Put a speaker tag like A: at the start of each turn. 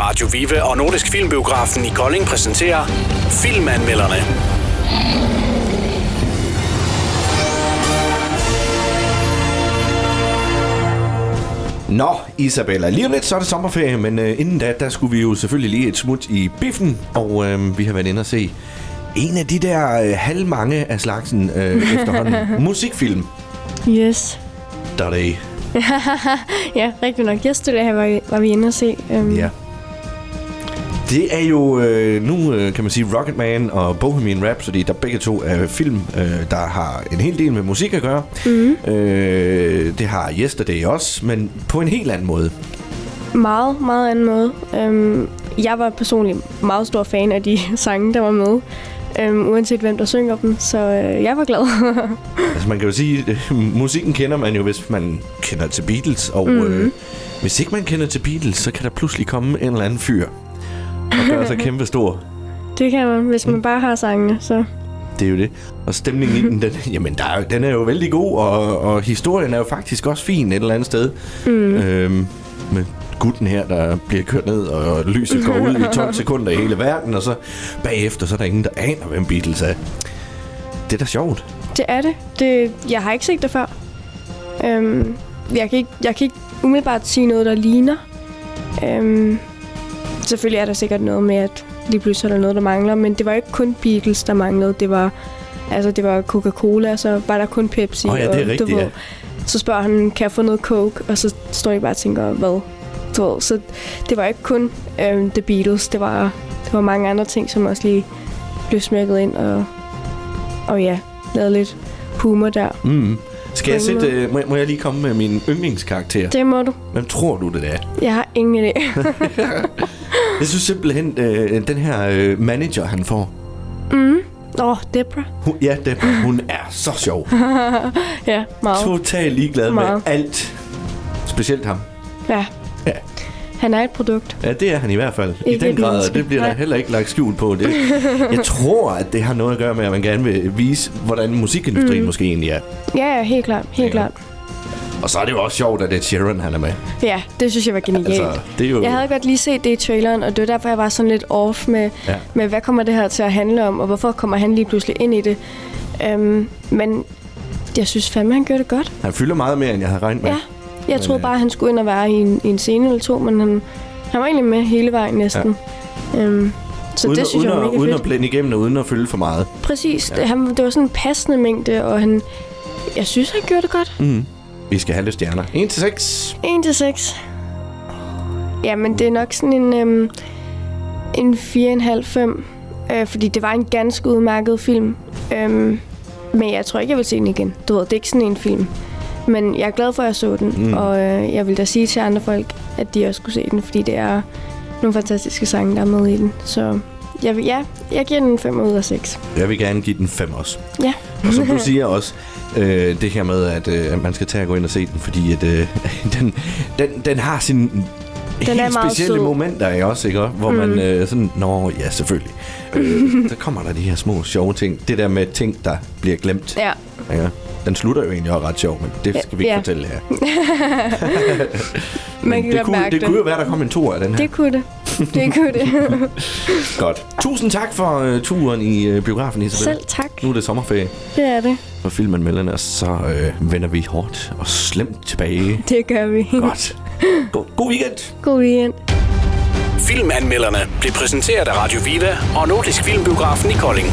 A: Radio Vive og Nordisk Filmbiografen i Kolding præsenterer Filmanmelderne.
B: Nå, Isabella, lige om lidt så er det sommerferie, men øh, inden da, der skulle vi jo selvfølgelig lige et smut i biffen, og øh, vi har været inde og se en af de der øh, halvmange af slagsen øh, efterhånden musikfilm.
C: Yes.
B: Der er det.
C: ja, rigtig nok. Jeg stod her, var vi, var vi inde og se. Øhm,
B: Ja. Det er jo øh, nu, øh, kan man sige, Rocketman og Bohemian Rhapsody, der begge to er film, øh, der har en hel del med musik at gøre. Mm. Øh, det har Yesterday også, men på en helt anden måde.
C: Meget, meget anden måde. Øhm, jeg var personligt meget stor fan af de sange, der var med. Øhm, uanset hvem der synger dem, så øh, jeg var glad.
B: Altså man kan jo sige, at musikken kender man jo, hvis man kender til Beatles, og mm. øh, hvis ikke man kender til Beatles, så kan der pludselig komme en eller anden fyr og gøre sig kæmpe stor.
C: det kan man, hvis man bare har sangene, så...
B: Det er jo det. Og stemningen i den, den, jamen, der er, jo- den er jo vældig god, og, og historien er jo faktisk også fin et eller andet sted. Mm. Øhm, med gutten her, der bliver kørt ned, og lyset går ud i 12 sekunder i hele verden, og så bagefter, så er der ingen, der aner, hvem Beatles er. Det er da sjovt.
C: Det er det. det jeg har ikke set det før. Øhm, jeg, kan ikke, jeg kan ikke umiddelbart sige noget, der ligner. Øhm, selvfølgelig er der sikkert noget med, at lige pludselig er der noget, der mangler, men det var ikke kun Beatles, der manglede. Det var, altså, det var Coca-Cola, og så var der kun Pepsi.
B: Åh ja, det er
C: og,
B: rigtigt,
C: du ved,
B: ja.
C: Så spørger han, kan jeg få noget coke? Og så står jeg bare og tænker, hvad? Du ved, så det var ikke kun øhm, The Beatles, det var, det var mange andre ting, som også lige blev smækket ind, og, og ja, lavet lidt humor der.
B: Mm. Skal jeg
C: På en
B: sætte, øh, må, jeg- må jeg lige komme med min yndlingskarakter?
C: Det må du.
B: Hvem tror du, det er?
C: Jeg har ingen idé.
B: Jeg synes simpelthen, øh, den her øh, manager, han får.
C: Åh, oh, Debra.
B: Hun, ja, Debra, hun er så sjov.
C: Ja, meget.
B: Totalt ligeglad med
C: Meget.
B: alt. Specielt ham.
C: Ja.
B: Ja.
C: Han er et produkt.
B: Ja, det er han i hvert fald. I
C: Ikke
B: den
C: et
B: grad, og
C: menneske.
B: det bliver der
C: Nej.
B: heller ikke lagt skjul på. Det. Jeg tror, at det har noget at gøre med, at man gerne vil vise, hvordan musikindustrien mm. måske egentlig er.
C: Ja, ja, helt klart. Helt
B: Sikkert.
C: klart.
B: Og så er det jo også sjovt, at det er Sharon, han er med.
C: Ja, det synes jeg var genialt.
B: Altså, det er jo...
C: Jeg havde godt lige set det i traileren, og det var derfor, jeg var sådan lidt off med,
B: Ja.
C: ja. med hvad kommer det her til at handle om, og hvorfor kommer han lige pludselig ind i det. Øhm, men jeg synes fandme, han gjorde det godt.
B: Han fylder meget mere, end jeg havde regnet med.
C: Ja. Jeg
B: Men,
C: troede
B: øh,
C: bare, han skulle ind og være i en, i en scene eller to, men han, han var egentlig med hele vejen næsten. Ja. Øhm, så
B: uden,
C: det synes
B: uden,
C: jeg var
B: at-
C: mega
B: uden
C: fedt.
B: at blænde igennem og uden at fylde for meget.
C: Præcis. Ja. Det, han, det var sådan en passende mængde, og han... Jeg synes, han gjorde det godt.
B: Vi skal have lidt stjerner. 1 til 6.
C: 1-6. Jamen, det er nok sådan en, øhm, en 4,5-5. Øh, fordi det var en ganske udmærket film. Øhm, men jeg tror ikke, jeg vil se den igen. Du ved, det er ikke sådan en film. Men jeg er glad for, at jeg så den. Mm. Og øh, jeg vil da sige til andre folk, at de også skulle se den. Fordi det er nogle fantastiske sange, der er med i den. Så jeg, vil, ja, jeg giver den en 5 ud af 6.
B: Jeg vil gerne give den 5 også.
C: Ja.
B: Og som du siger også, øh, det her med, at øh, man skal tage og gå ind og se den, fordi at, øh, den, den, den har sine helt
C: er meget
B: specielle
C: sød.
B: momenter i også, ikke? hvor mm. man øh, sådan, nå ja, selvfølgelig. Øh, så kommer der de her små sjove ting. Det der med ting, der bliver glemt.
C: Ja.
B: Ja. Den slutter jo egentlig også ret sjov, men det skal vi ikke
C: Ja.
B: fortælle her.
C: Man kan
B: det,
C: godt
B: kunne,
C: mærke
B: det
C: det.
B: kunne jo være, der kom en to af den her.
C: Det kunne det. Det kunne det.
B: Godt. Tusind tak for øh, turen i øh, biografen, Isabel.
C: Selv tak.
B: Nu er det sommerferie
C: Det er det.
B: for filmanmelderne, og så øh, vender vi hårdt og slemt tilbage
C: Det gør vi.
B: Godt. God, god weekend.
C: God weekend.
A: Filmanmelderne blev præsenteret af Radio Vive og Nordisk Filmbiografen i Kolding.